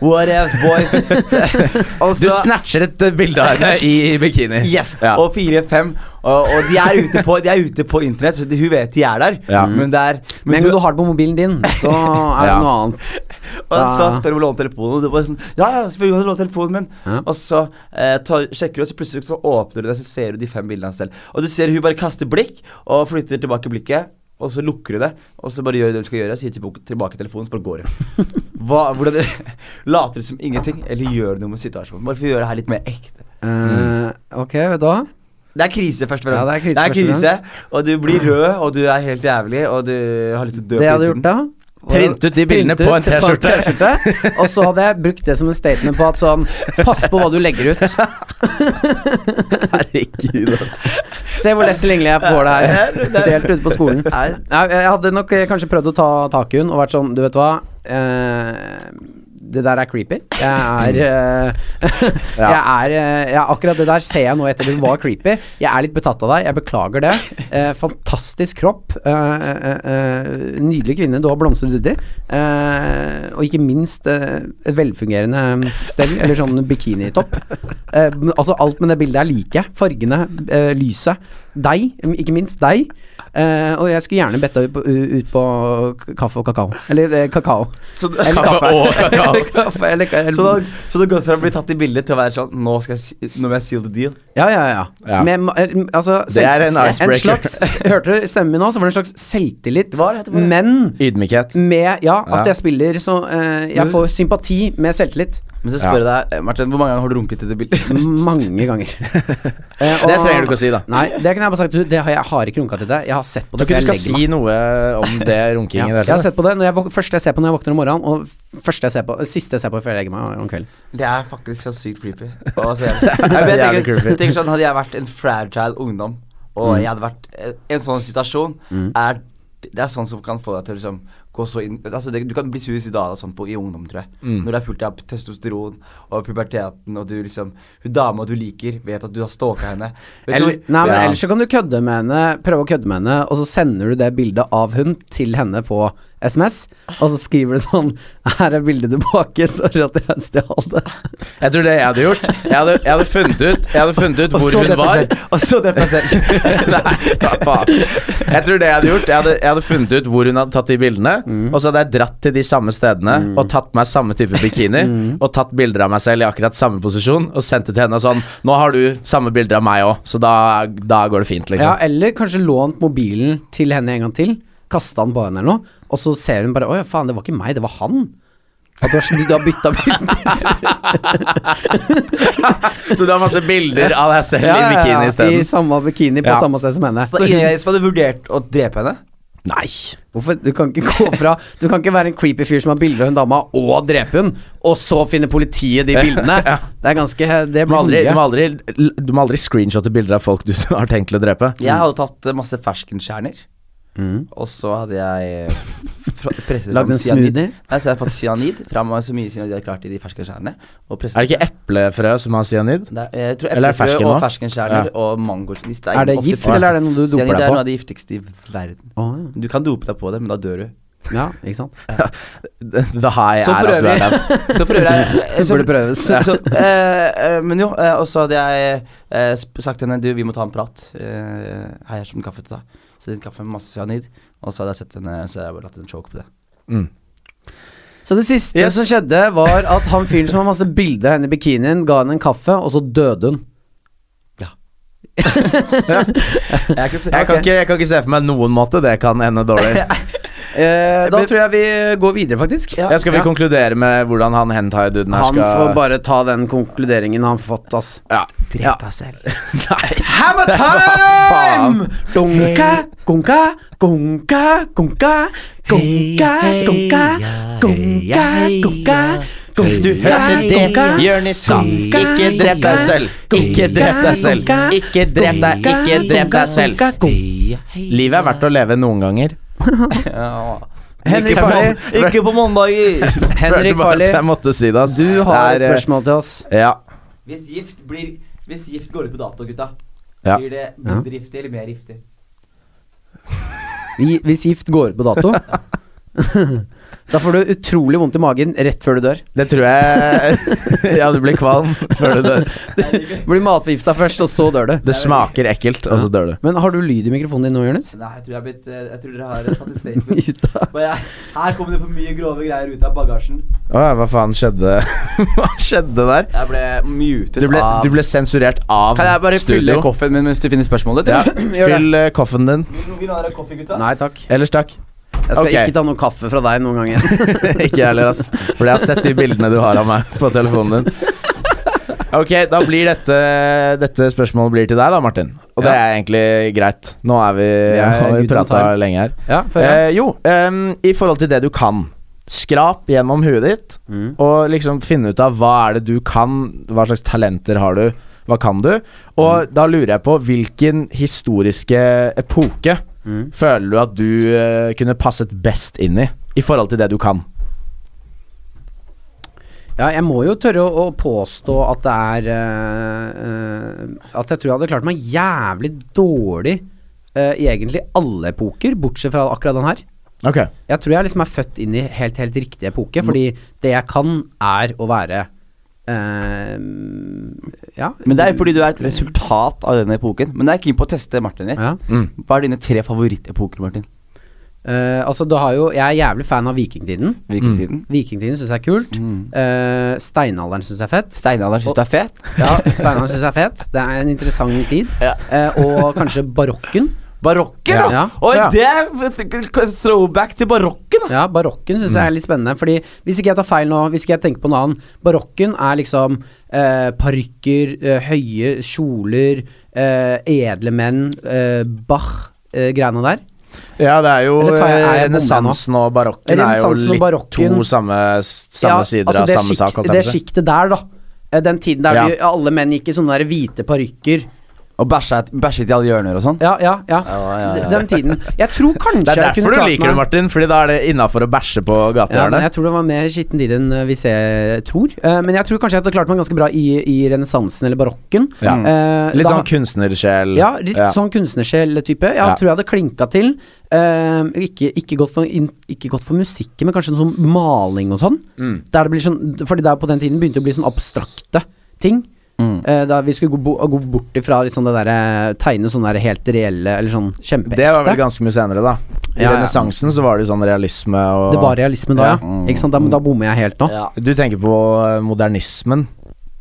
D: What else, boys? Og
B: Du
D: så-
B: snatcher et eh, bilde av henne i bikini.
D: Yes,
B: Ja.
D: og fire-fem. Og, og de, er ute på, de er ute på internett, så de, hun vet de er der.
B: Ja.
D: Men det er men
C: Men
D: du,
C: når du har det på mobilen din, så er det
B: Ja.
C: noe annet.
D: Og så spør hun om å låne telefonen, og du bare sånn Ja, ja, selvfølgelig kan du låne telefonen min.
C: Ja.
D: Og så eh, tar, sjekker du, og så plutselig så åpner du det, så ser du de fem bildene hans selv. Og du ser hun bare kaster blikk, og flytter tilbake blikket. Og så lukker hun det, og så bare gjør det du skal gjøre, sier tilbake, tilbake telefonen, så bare går hun. Hva, hvordan Later du som ingenting, eller gjør noe med situasjonen? Bare for å gjøre det her litt mer ekte.
C: Eh, ok, vet du hva?
D: Det er krise først og fremst.
C: Ja, det er krise først og
D: krise, og du blir rød, og du er helt jævlig, og du har lyst til å dø
C: Det jeg hadde
D: innsiden.
C: gjort da
B: Print ut de bildene
C: Print
B: på
C: ut
B: en T-skjorte.
C: T-skjorte, Og så hadde jeg brukt det som en statement på at sånn Pass på hva du legger ut.
B: Herregud, altså.
C: Se hvor lett tilgjengelig jeg får det her. Helt ute på skolen.
D: Nei.
C: Nei, jeg hadde nok eh, kanskje prøvd å ta tak i hun og vært sånn, du vet hva eh, det der er creepy. Jeg er, eh, jeg er eh, jeg, Akkurat det der ser jeg nå etter det var creepy. Jeg er litt betatt av deg, jeg beklager det. Eh, fantastisk kropp. Eh, eh, eh, nydelig kvinne du har blomstret uti. Eh, og ikke minst eh, et velfungerende stell, eller sånn bikinitopp. Eh, men altså alt med det bildet er like. Fargene, eh, lyset. Deg, ikke minst deg. Eh, og jeg skulle gjerne bedt deg ut på, ut på k- kaffe og kakao. Eller eh, kakao.
D: Så,
C: Eller
D: så,
C: kaffe.
B: og kakao.
C: Eller kaffe, eller, ka-
D: så, da, så du har gått fra å bli tatt i bildet til å være sånn Nå, skal jeg, si- nå må jeg seal the deal.
C: Ja, ja, ja.
B: Ja.
C: Med ma- eh, altså,
B: Det er en icebreaker.
C: slags, hørte du stemmen min nå? Så var det en slags selvtillit.
D: Hva er det det var?
C: Men
B: Ydmykhet.
C: med Ja, at
B: Ja.
C: jeg spiller så eh, Jeg får sympati med selvtillit
D: Men så spør jeg deg, eh, Martin, hvor mange ganger har du runket til det bildet?
C: mange ganger. Eh,
B: Det trenger du ikke å si, da.
C: Nei, det kunne jeg bare sagt. Du, det har, jeg har ikke runka til det. Jeg har sett på
B: Jeg
C: det.
B: tror ikke
C: for
B: du
C: jeg
B: skal
C: legger meg.
B: si noe om det runkingen.
C: ja,
B: i det hele
C: jeg har
B: tatt.
C: sett på det når jeg, våk- første jeg ser på når jeg våkner om morgenen, og f- første jeg ser på, siste jeg ser på før jeg legger meg om kvelden.
D: Det er faktisk så sykt creepy. Å, så jævlig. Jeg, vet, jeg,
B: Jævlig
D: tenker,
B: creepy.
D: jeg tenker sånn, Hadde jeg vært en fragile ungdom, og
C: Mm.
D: jeg hadde vært eh, En sånn situasjon er det er sånn som kan få deg til å liksom gå så inn altså det, Du kan bli suicidal og sånn på, i ungdom, tror jeg.
C: Mm.
D: Når du er fullt av testosteron og puberteten, og du liksom Hun dama du liker, vet at du har stalka henne. Vet
C: Eller,
D: du,
C: nei, men
B: Ja.
C: Ellers så kan du kødde med henne, prøve å kødde med henne, og så sender du det bildet av hun til henne på SMS, og så skriver du sånn Her er bildet tilbake, sorry at jeg stjal det.
B: Jeg tror det jeg hadde gjort Jeg hadde, jeg hadde funnet ut, jeg hadde funnet ut
D: og
B: hvor
D: så
B: hun
D: det på
B: var
D: selv, Og så det på selv.
B: Nei, hva faen Jeg tror det jeg hadde gjort Jeg hadde, jeg hadde funnet ut hvor hun hadde tatt de bildene
D: Mm.
B: Og så hadde jeg dratt til de samme stedene Og tatt meg samme type bikini
D: Mm.
B: Og tatt bilder av meg selv i akkurat samme posisjon Og sendt det til henne og sånn Nå har du samme bilder av meg også Så da, da går det fint
C: Ja,
B: liksom
C: eller kanskje lånt mobilen til henne en gang til, kasta den på henne eller noe, og så ser hun bare Å ja, faen, det var ikke meg, det var han. At du har, du har bytta bilder.
B: Så du har masse bilder av deg selv
C: Ja, ja,
B: i
C: ja,
B: bikini i
C: I
B: stedet
C: samme bikini på
B: Ja.
C: samme sted som henne.
D: Så da Ines hadde vurdert å drepe henne.
B: Nei
C: Hvorfor? Du kan ikke gå fra Du kan ikke være en creepy fyr som har bilder av hun dama, og drepe hun, og så finner politiet de bildene. Det er ganske Det
B: du må,
C: blir
B: aldri, du,
C: mye.
B: må aldri, du må aldri screenshotte bilder av folk du har tenkt til å drepe
C: Mm.
D: Jeg hadde tatt eh, masse ferskenkjerner. Og så hadde jeg eh, fra- presset
C: Lagd
D: fram
C: en
D: cyanid.
C: smoothie?
D: Nei, så jeg hadde fått cyanid fra meg så mye cyanid jeg hadde klart i de ferskentjernene. Og presset
B: Er det ikke eplefrø som har cyanid?
D: Nei, jeg tror
B: Eller er det
D: eplefrø
B: fersken
D: og
B: nå?
D: ferskentjerner og mango de steiner
C: Er det
D: ofte
C: gift,
D: til.
C: eller er det noe du doper
D: Cyanid
C: deg
D: er
C: på?
D: noe av det giftigste i verden.
C: Å,
D: Du kan dope deg på det, men da dør du.
C: ja, ikke sant?
B: The high
D: Så for
B: er at du
D: øvrig
B: er der
D: Så for øvrig er- så-
C: Burde prøves.
D: Så, eh, eh, men jo, eh, og så hadde jeg eh, sp- sagt til henne Du, vi må ta en prat. Eh, hei, jeg har kjøpt en kaffe til deg. Så det er en kaffe med masse cyanid. Og så hadde jeg sett henne Så hadde jeg bare latt henne choke på det.
C: Så det siste
B: Yes.
C: som skjedde, var at han fyren som har masse bilder av henne i bikinien, ga henne en kaffe, og så døde hun.
D: Jeg er ikke så,
B: Jeg kan, ikke, jeg kan ikke se for meg noen måte det kan ende dårlig.
C: Eh, da tror jeg vi går videre, faktisk.
B: Ja, skal vi konkludere med hvordan han hentai-duden her
C: Han
B: skal
C: får bare ta den konkluderingen han fått, ass.
B: ja.
A: Drep deg selv.
C: Hammer time! Gunka, gunka, gunka, gunka, gunka, gunka, gunka, gunka,
B: Du hørte det, Jørnis sa. Ikke drep deg selv. Ikke drep deg selv. Ikke drep deg. Ikke drep deg selv. Livet er verdt å leve noen ganger.
A: Henrik
B: Ikke
A: Farley,
B: på-
A: ikke på mandager!
C: Henrik
B: Følte bare
C: Farley,
B: at Jeg måtte si det, ass.
C: du har
B: Det
C: et
B: er, eh,
C: spørsmål til oss.
B: Ja.
D: Hvis gift blir Hvis gift går ut på dato, gutta,
B: Ja.
D: blir det mindre giftig eller mer giftig?
C: I- Hvis gift går ut på dato Da får du utrolig vondt i magen rett før du dør.
B: Det tror jeg Ja, du blir kvalm før du dør.
C: Blir matforgifta først, og så dør du.
B: Det smaker ekkelt, og så dør du.
C: Men har du lyd i mikrofonen din nå, Jonis?
D: Nei, jeg tror, jeg har blitt, eh, jeg tror dere har tatt et statement.
C: Ut av-
D: Bare, her kommer det for mye grove greier ut av bagasjen.
B: Å ja, hva faen skjedde Hva skjedde der?
D: Jeg ble mutet
B: Du ble, du ble sensurert av
D: Kan jeg bare fylle
B: studio.
D: koffen min mens du finner spørsmålet?
B: Ja,
D: eller?
B: fyll eh, koffen din.
D: Vil noen ha kaffe, gutta?
C: Nei takk.
B: Ellers takk.
C: Jeg skal
B: Ok.
C: ikke ta noe kaffe fra deg noen gang igjen.
B: Ikke jeg heller, ass. For jeg har sett de bildene du har av meg på telefonen din. Ok, da blir dette Dette spørsmålet blir til deg, da, Martin. Og det er egentlig greit. Nå er vi,
C: Vi er
B: har vi
C: good on
B: prata
C: time.
B: lenge her.
C: Ja, før jeg.
B: Eh, jo, ehm, i forhold til det du kan. Skrap gjennom huet ditt,
C: Mm.
B: og liksom finne ut av hva er det du kan, hva slags talenter har du, hva kan du?
C: Mm.
B: Og da lurer jeg på hvilken historiske epoke
C: Mm.
B: føler du at du eh, kunne passet best inn i, i forhold til det du kan?
C: Ja, jeg må jo tørre å, å påstå at det er eh, eh, At jeg tror jeg hadde klart meg jævlig dårlig eh, i egentlig alle epoker, bortsett fra akkurat den her.
B: Ok,
C: Jeg tror jeg liksom er født inn i helt, helt riktig epoke, fordi det jeg kan, er å være eh, Ja.
D: Men det er jo fordi du er et resultat av den epoken. Men jeg er keen på å teste Martin litt.
C: ja.
D: Hva er dine tre favorittepoker, Martin?
C: Eh, altså, du har jo Jeg er jævlig fan av vikingtiden.
D: Vikingtiden?
C: Vikingtiden syns jeg er kult. Eh, steinalderen syns jeg er fett.
D: Steinalderen syns du er fet?
C: Ja, Steinalderen syns jeg er fet. Det er en interessant tid. Eh, og kanskje barokken.
D: Barokken,
C: Ja.
D: da!
C: Ja.
D: Oi,
B: Ja.
D: det er throwback til barokken, da!
C: Ja, barokken syns
B: Mm.
C: jeg er litt spennende. Fordi Hvis ikke jeg tar feil nå, hvis ikke jeg tenker på noe annet Barokken er liksom eh, parykker, eh, høye kjoler, eh, edle menn, eh, Bach, eh, greiene der.
B: Ja, det er jo
C: Eller tar jeg- er
B: eh,
C: jeg
B: renessansen og barokken er jo
C: Renessansen og
B: litt
C: barokken-
B: to samme, s- samme sider
C: altså,
B: av
C: det
B: samme
C: sjikt-
B: sak. holdt jeg
C: Det
B: på å si.
C: sjiktet der, da. Eh, Den tiden der
B: Ja.
C: de, alle menn gikk i sånne der hvite parykker.
D: Og bæsja et- bæsjet i alle hjørner og sånn.
C: Ja, ja, ja.
D: ja, ja.
C: Den tiden. Jeg tror kanskje
B: Det er
C: jeg
B: derfor
C: kunne
B: du
C: klart
B: liker det,
C: meg-
B: Martin, Fordi da er det innafor å bæsje på
C: Ja, men
B: gatehjørnet.
C: jeg tror det var mer skitten tid enn eh, vi ser, tror. Eh, men jeg tror kanskje jeg hadde klart meg ganske bra i, i renessansen eller barokken.
B: Ja.
C: Eh,
B: litt
C: da-
B: sånn kunstnersjel.
C: Ja, litt sånn kunstnersjel-type. Jeg
B: Ja.
C: tror jeg hadde klinka til. Eh, ikke, ikke, godt for, in, ikke godt for musikken, men kanskje noe sånn maling og sånn.
B: Mm.
C: Der det blir sånn fordi der på den tiden begynte det å bli sånn abstrakte ting.
B: Mm.
C: Eh, da vi skulle gå, bo, gå bort ifra liksom det derre Tegne sånne der helt reelle, eller sånn kjempeekte.
B: Det var vel ganske mye senere, da. I
C: Ja, ja.
B: renessansen så var det jo sånn realisme og
C: Det var realisme da, ja.
B: Ja. Mm.
C: Ikke sant? Da, da bommer jeg helt nå.
D: Ja.
B: Du tenker på eh, modernismen,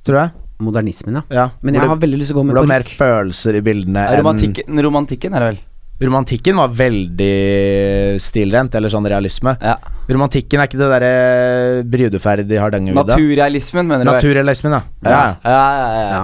B: tror jeg.
C: Modernismen, ja.
B: Ja.
C: Men jeg har veldig lyst til
B: hvor
C: å gå med
B: det var
C: parykk.
B: mer følelser i bildene enn
D: Romantikken, romantikken er det vel?
B: Romantikken var veldig stilrent, eller sånn realisme.
D: Ja.
B: Romantikken er ikke det derre eh, brudeferdig Hardangervidda.
D: Naturrealismen, mener du? vel?
B: Naturrealismen, ja. ja.
D: Ja, ja, ja, ja.
C: Ja.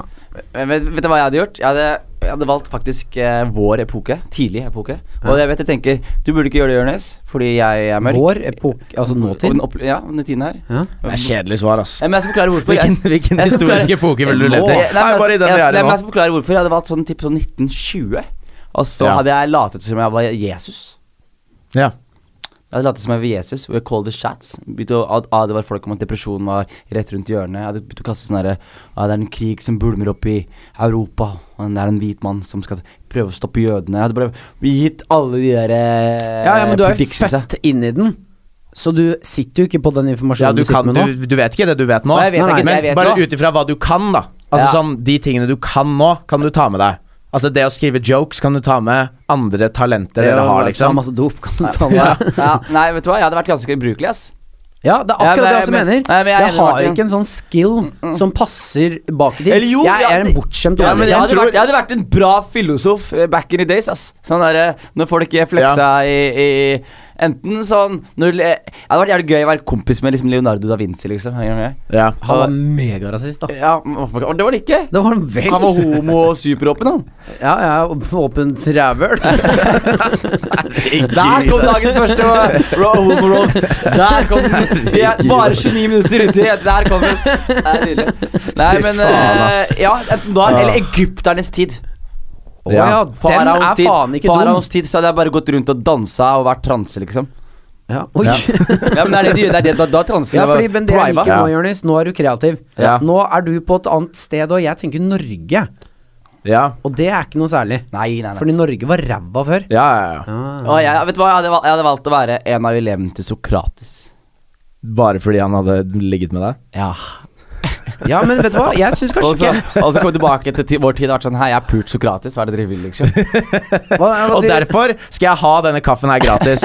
D: Men Vet, vet du hva jeg hadde gjort? Jeg hadde, jeg hadde valgt faktisk eh, vår epoke. Tidlig epoke. Og jeg vet jeg tenker Du burde ikke gjøre det, Jonis, fordi jeg er mørk.
C: Vår epoke, altså
D: Og
C: nåtid.
D: den opple- Ja, den tiden her.
C: Ja.
B: Det er kjedelig svar, ass.
D: Nei, Men jeg skal forklare hvorfor.
B: Hvilken,
D: jeg,
B: hvilken
D: jeg skal
B: historisk
D: forklare-
B: epoke ville du
D: Nå.
B: levd i?
D: Nei,
B: Nei,
D: men
B: bare i den
D: jeg,
B: vi
D: nei,
B: er i
D: men
B: nå.
D: jeg skal forklare hvorfor. Jeg hadde valgt sånn typ sånn 1920. Og så
B: Ja.
D: hadde jeg latet som jeg var Jesus.
B: Ja.
D: Jeg hadde latt som jeg var Jesus, og jeg called the shots. Begynte å ad- advare folk om at depresjonen var rett rundt hjørnet. Jeg hadde begynt å kaste sånn herre ah, Det er en krig som bulmer opp i Europa, og det er en hvit mann som skal prøve å stoppe jødene. Jeg hadde bare gitt alle de der eh,
C: Ja, ja, men du er jo
D: predictions, ja.
C: født inn i den, så du sitter jo ikke på den
B: ja,
C: informasjonen
B: du,
C: du, sitter
B: kan,
C: med nå.
B: du, du vet ikke det du vet nå.
D: Nei, jeg vet
C: Nei,
D: ikke,
C: nei,
D: jeg
B: Men
D: vet
B: bare
D: nå.
B: ut ifra hva du kan, da. Altså
D: Ja.
B: sånn, De tingene du kan nå, kan du ta med deg. Altså Det å skrive jokes kan du ta med andre talenter dere har,
C: Ja,
B: liksom.
C: masse dop, kan du ta
D: Sånn, ja.
C: med.
D: ja, Nei, vet du hva, jeg hadde vært ganske ubrukelig, ass.
C: Ja, det er
D: Ja, men-
C: akkurat det jeg også
D: men-
C: mener.
D: Nei, men jeg er
C: jeg,
D: enig med
C: har
D: Martin.
C: ikke en sånn skill som passer bak i tid.
D: Eller jo,
C: jeg
D: ja,
C: er en
D: det-
C: bortskjemt
D: Ja,
C: unge.
D: men jeg,
B: jeg
D: hadde
B: tror-
D: vært, jeg hadde vært en eh, bra filosof eh, back in the days, ass. Sånn derre når folk ikke fleksa i, i Enten sånn når, eh, Det hadde vært jævlig gøy å være kompis med liksom Leonardo da Vinci, liksom. Er du med?
B: Ja.
C: Han var megarasist, da.
D: Ja, og det var det ikke.
C: Det var han vel.
D: Han var homo og superåpen, han.
C: Ja, ja, åpent rævhøl.
D: Der kom dagens første ro- homo-roast. Der kom den. Vi er bare 29 minutter uti. Der kom den. Det er nydelig. Nei, men
B: faen,
D: eh,
B: ass.
D: Ja, enten da eller egypternes tid.
C: Å ja,
B: Ja.
C: den er
D: tid.
C: faen ikke dum.
D: Faraos tid så hadde jeg bare gått rundt og dansa og vært transe, liksom.
C: Ja. Oi.
D: Ja, men det er det de gjør. Det er det, da, da transen
C: Ja, fordi, men det jeg liker
B: Ja.
C: nå, Jonis, nå er du kreativ.
B: Ja.
C: Nå er du på et annet sted, og jeg tenker Norge.
B: Ja.
C: Og det er ikke noe særlig.
D: Nei, nei, nei.
C: Fordi Norge var ræva før. Ah.
B: Ja, ja, ja.
D: Å, jeg, vet du hva, jeg hadde, valgt, jeg hadde valgt å være en av elevene til Sokrates.
B: Bare fordi han hadde ligget med deg?
D: Ja.
C: Ja, men vet du hva, jeg syns
D: Og så
C: kanskje
D: og så kom vi tilbake til ti- vår tid og vært sånn Hei, jeg har pult Sokrates. Hva er det dere vil, liksom?
C: ikke hva, hva
B: Og
C: sier-
B: derfor skal jeg ha denne kaffen her gratis.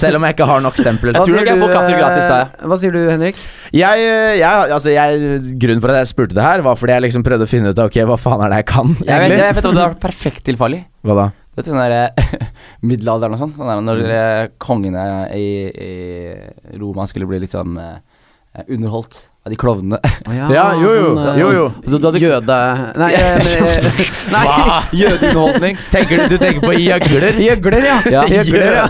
B: selv om jeg ikke har nok stempler.
D: Jeg tror
C: sier
D: nok jeg
C: du,
D: får kaffe
C: eh,
D: gratis der,
C: Hva sier du, Henrik?
B: Jeg, jeg, altså jeg, grunnen for at jeg spurte det her, var fordi jeg liksom prøvde å finne ut av Ok, hva faen er det jeg kan,
D: Jeg vet,
B: egentlig?
D: jeg vet hva det var perfekt til Farley.
B: Hva da?
D: Det er sånn der eh, middelalderen og sånn. Sånn der når eh, kongene i, i Roma skulle bli liksom eh, underholdt av de klovnene.
B: Ja, jo, jo.
C: eh,
B: jo, jo.
D: Så da hadde-
C: Jøde... Nei, eh, men- nei.
B: Jødeunderholdning? Tenker du, du tenker på gjøgler?
C: Gjøgler, ja.
D: Ja.
B: Gjøgler, ja.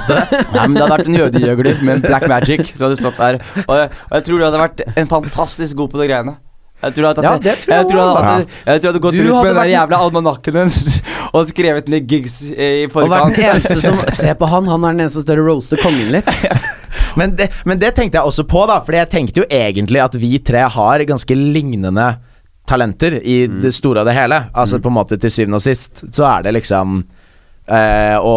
D: Nei, men Det hadde vært en jødegjøgler med en black magic som hadde stått der. Og jeg, og jeg tror du hadde vært en fantastisk god på de greiene. Jeg tror jeg hadde,
C: Ja,
D: tatt-
C: det tror jeg
D: jeg tror jeg hadde,
B: også.
D: tatt- jeg tror jeg hadde gått
C: Du
D: rundt
C: hadde
D: med den der
C: vært-
D: jævla almanakken hennes og skrevet ned gigs eh, i
C: Og vært
D: forkant.
C: den eneste som Se på han, han er den eneste som tør å roaste kongen litt.
B: Men det, men det tenkte jeg også på, da. Fordi jeg tenkte jo egentlig at vi tre har ganske lignende talenter i
C: Mm.
B: det store og det hele. Altså på en måte til syvende og sist så er det liksom eh, å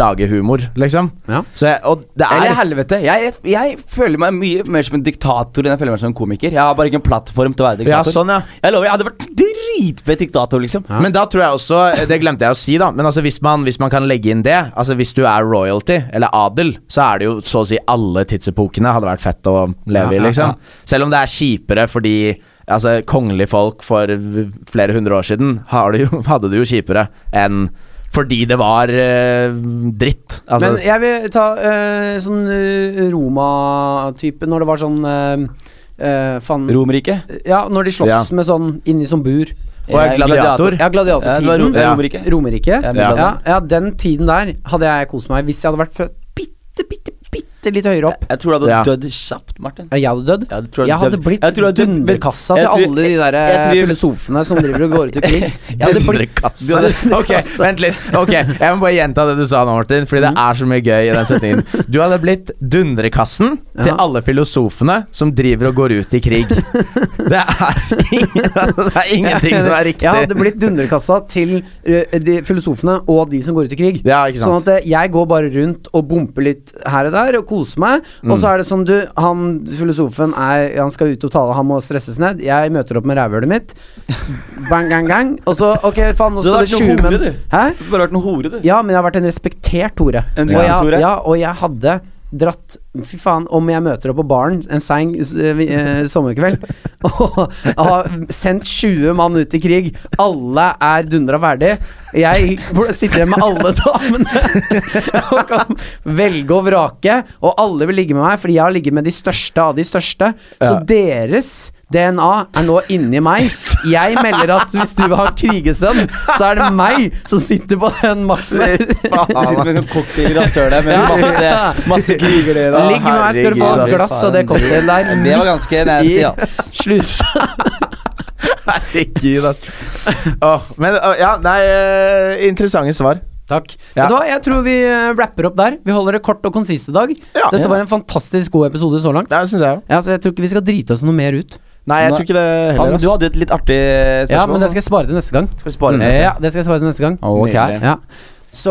B: lage humor, liksom.
C: Ja.
B: Så jeg, og det er
D: Eller helvete. Jeg, jeg føler meg mye mer som en diktator enn jeg føler meg som en komiker. Jeg har bare ikke en plattform til å være
B: Ja,
D: diktator.
B: sånn, ja.
D: Jeg lover, jeg hadde vært dritfet diktator, liksom.
C: Ja.
B: Men da tror jeg også, det glemte jeg å si da Men altså hvis man, hvis man kan legge inn det Altså hvis du er royalty, eller adel Så er det jo så å si alle tidsepokene Hadde vært fett å
C: Ja,
B: leve i
C: ja,
B: liksom Selv om det er kjipere fordi Altså kongelige folk for flere hundre år siden har det jo, Hadde det jo kjipere enn fordi det var eh, dritt altså,
C: Men jeg vil ta eh, sånn eh, Roma-type, når det var sånn eh, eh, Faen
D: Mm. Romerriket.
C: Ja, når de slåss
B: Ja.
C: med sånn inni sånn bur.
B: Og jeg er gladiator.
C: Ja,
D: Ja, det var
C: gladiatortiden.
D: Rom-
B: Ja.
D: Romerriket.
C: Romerike.
D: Ja,
C: Ja.
B: ja.
C: Ja, den tiden der hadde jeg kost meg hvis jeg hadde vært født bitte, bitte, bitte litt høyere opp.
D: Jeg tror du hadde
B: Ja.
D: dødd kjapt, Martin.
C: Er Jeg hadde dødd.
D: Ja, du tror
C: jeg
D: jeg
C: hadde
D: dødd.
C: blitt
D: Jeg tror jeg dødd- men-
C: dunderkassa til
D: jeg tror-
C: alle de der
D: jeg- jeg
C: eh,
D: tror-
C: filosofene som driver og går ut omkring. Jeg hadde blitt
B: Dunderkasse. Ok, vent litt. Ok, Jeg må bare gjenta det du sa nå, Martin, fordi det
D: Mm.
B: er så mye gøy i den setningen. Du hadde blitt dundrekassen til
C: Ja.
B: alle filosofene som driver og går ut i krig. Det er, ingen, det er ingenting som er
C: Jeg
B: riktig.
C: hadde blitt dunderkassa til eh, de filosofene og de som går ut i krig.
B: Ja, ikke
C: Sånn
B: sant.
C: at eh, jeg går bare rundt og bumper litt her og der og koser meg. Og
D: Mm.
C: så er det sånn, du, han filosofen er Han skal ut og tale, han må stresses ned. Jeg møter opp med rævhølet mitt. Bang, gang, gang. Og så, ok, faen, nå
D: Du
C: skal
D: hadde vært
C: det 20
D: noe hore,
C: menn
D: du.
C: Hæ?
D: Du hadde bare vært noen hore, du.
C: Ja, men jeg har vært en respektert hore.
D: En
C: og,
D: lyseshore.
C: jeg, ja, og jeg hadde dratt Fy faen, om jeg møter opp på baren en sein eh, vi- eh, sommerkveld og har sendt 20 mann ut i krig, alle er dundra ferdig Jeg sitter igjen med alle damene og kan velge og vrake, og alle vil ligge med meg fordi jeg har ligget med de største av de største. Så
B: Ja.
C: deres DNA er nå inni meg. Jeg melder at hvis du vil ha krigesønn, så er det meg som sitter på den makten der.
D: Du sitter med en cocktail i rasshølet med
C: Ja.
D: masse, masse kriger i da.
C: Ligg med meg, skal du få
B: herregud,
C: et glass av det cocktail der.
D: Det var ganske
C: midt
D: nasty,
C: i
D: ass.
C: Slusa.
B: Herregud, ass. Åh, men åh, ja, nei eh, Interessante svar.
C: Takk.
B: Ja.
C: Vet du hva, jeg tror vi eh, rapper opp der. Vi holder det kort og konsist i dag.
B: Ja.
C: Dette var en fantastisk god episode så langt.
B: Det syns jeg òg.
C: Ja, så jeg tror ikke vi skal drite oss noe mer ut.
B: Nei, jeg tror ikke det
D: Ja,
B: heller.
D: men
B: ass.
D: du hadde et litt artig spørsmål.
C: Ja, men det skal jeg spare til neste gang.
D: Skal vi spare det neste?
C: Ja, det skal jeg svare til neste gang.
D: Ok.
B: Nydelig.
C: Ja. Så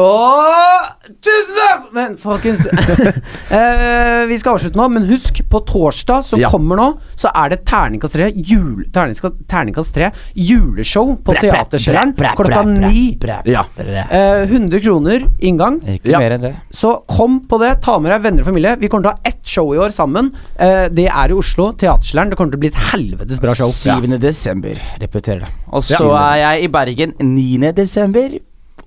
C: Tusen takk! Men folkens eh, Vi skal avslutte nå, men husk, på torsdag som
B: Ja.
C: kommer nå, så er det Terningkast 3, jul, terningkast, terningkast 3 juleshow på Teaterkjelleren klokka ni.
B: Ja.
C: Eh, 100 kroner inngang.
D: Ikke
B: Ja.
D: mer enn det.
C: Så kom på det, ta med deg venner og familie. Vi kommer til å ha ett show i år sammen. Eh, det er i Oslo, Teaterkjelleren. Det kommer til å bli et helvetes bra show.
D: 7. desember, repeterer det. Og så
B: Ja.
D: er jeg i Bergen 9. desember.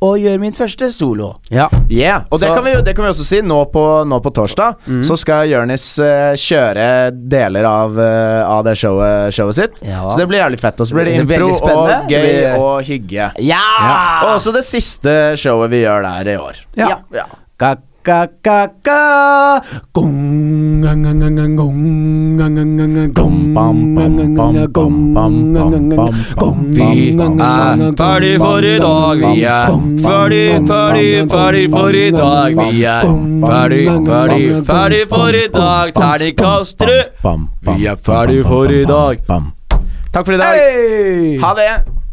D: og gjøre min første solo.
C: Ja.
B: Yeah. Og det
D: Så- Mm.
B: kan, vi, jo- det kan vi også si. Nå på, nå på torsdag så skal Jonis eh, kjøre deler av, eh, av det showet, showet sitt.
D: Ja.
B: Så det blir jævlig fett. Og så blir det
D: Det blir
B: impro
D: veldig spennende.
B: og gøy
D: Det blir-
B: og hygge.
D: Ja!
B: Og også det siste showet vi gjør der i år.
C: Ja. Ka-ka-ka-ka Gong, gang, gang, gang, gang, gong, gang, gang, gang, gang, gong, gang, gang, gang, gang, gong, gang, gang, gang, gang, gong,
B: Vi
C: gang, gang, gang, gang, gang,
E: er Ah, ferdig for i dag, vi er ferdig, ferdig, ferdig for i dag. Vi er ferdig, ferdig, ferdig for i dag. Terningkast tre. Vi er ferdig for i dag.
B: Takk for i dag. Ha det.